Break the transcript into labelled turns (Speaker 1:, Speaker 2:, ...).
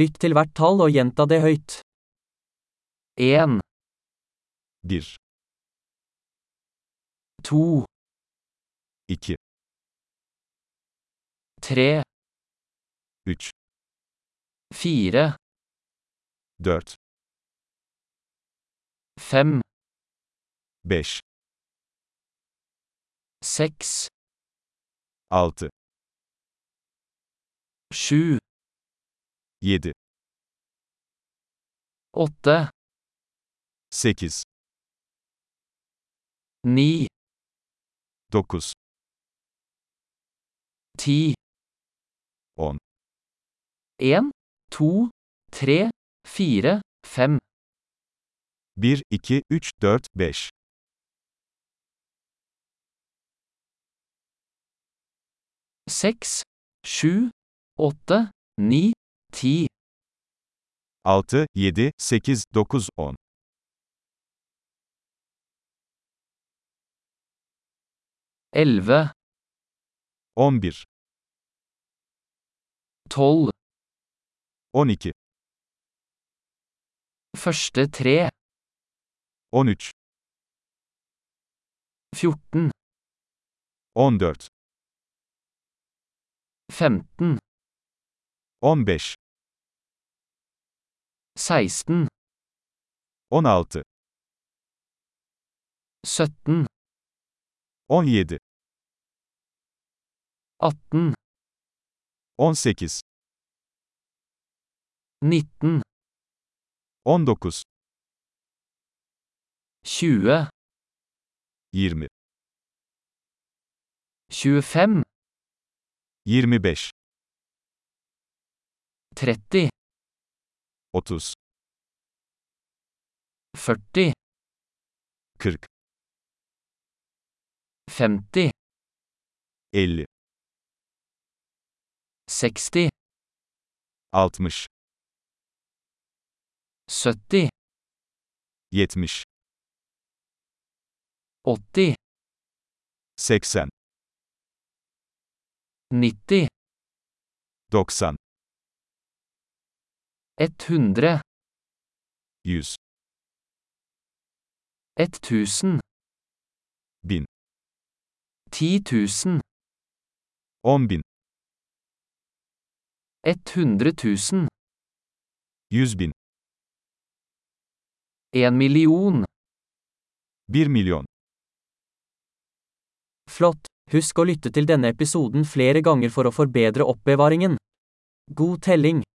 Speaker 1: Lytt til hvert tall og gjenta det høyt. 1,
Speaker 2: Bir,
Speaker 1: 2,
Speaker 2: iki,
Speaker 1: 3,
Speaker 2: üç,
Speaker 1: 4,
Speaker 2: dört,
Speaker 1: 5,
Speaker 2: beş,
Speaker 1: 6,
Speaker 2: altı,
Speaker 1: 7,
Speaker 2: yedi,
Speaker 1: 8,
Speaker 2: sekiz,
Speaker 1: 9,
Speaker 2: dokuz,
Speaker 1: 10,
Speaker 2: On.
Speaker 1: 1, 2, 3, 4, 5,
Speaker 2: bir, iki, üç, dört, beş.
Speaker 1: 6, 7, 8, 9, 10,
Speaker 2: Altı, yedi, sekiz, dokuz, on.
Speaker 1: 11,
Speaker 2: On bir,
Speaker 1: 12,
Speaker 2: on iki,
Speaker 1: første 3,
Speaker 2: on üç,
Speaker 1: 14,
Speaker 2: on dört,
Speaker 1: 15,
Speaker 2: on beş,
Speaker 1: 16,
Speaker 2: on altı,
Speaker 1: 17,
Speaker 2: on yedi,
Speaker 1: 18,
Speaker 2: on sekiz,
Speaker 1: 19,
Speaker 2: on dokuz,
Speaker 1: 20,
Speaker 2: yirmi,
Speaker 1: 25,
Speaker 2: yirmi beş,
Speaker 1: 30,
Speaker 2: otuz,
Speaker 1: 40,
Speaker 2: kırk,
Speaker 1: 50,
Speaker 2: elli,
Speaker 1: 60,
Speaker 2: altmış,
Speaker 1: 70,
Speaker 2: yetmiş,
Speaker 1: 80,
Speaker 2: seksen,
Speaker 1: 90,
Speaker 2: doksan,
Speaker 1: 100,
Speaker 2: yüz,
Speaker 1: 1000,
Speaker 2: bin,
Speaker 1: 10 000,
Speaker 2: on bin,
Speaker 1: 100 000,
Speaker 2: yüz bin,
Speaker 1: 1 million.
Speaker 2: bir milyon.
Speaker 1: Flott! Husk å lytte til denne episoden flere ganger for å forbedre oppbevaringen. God telling!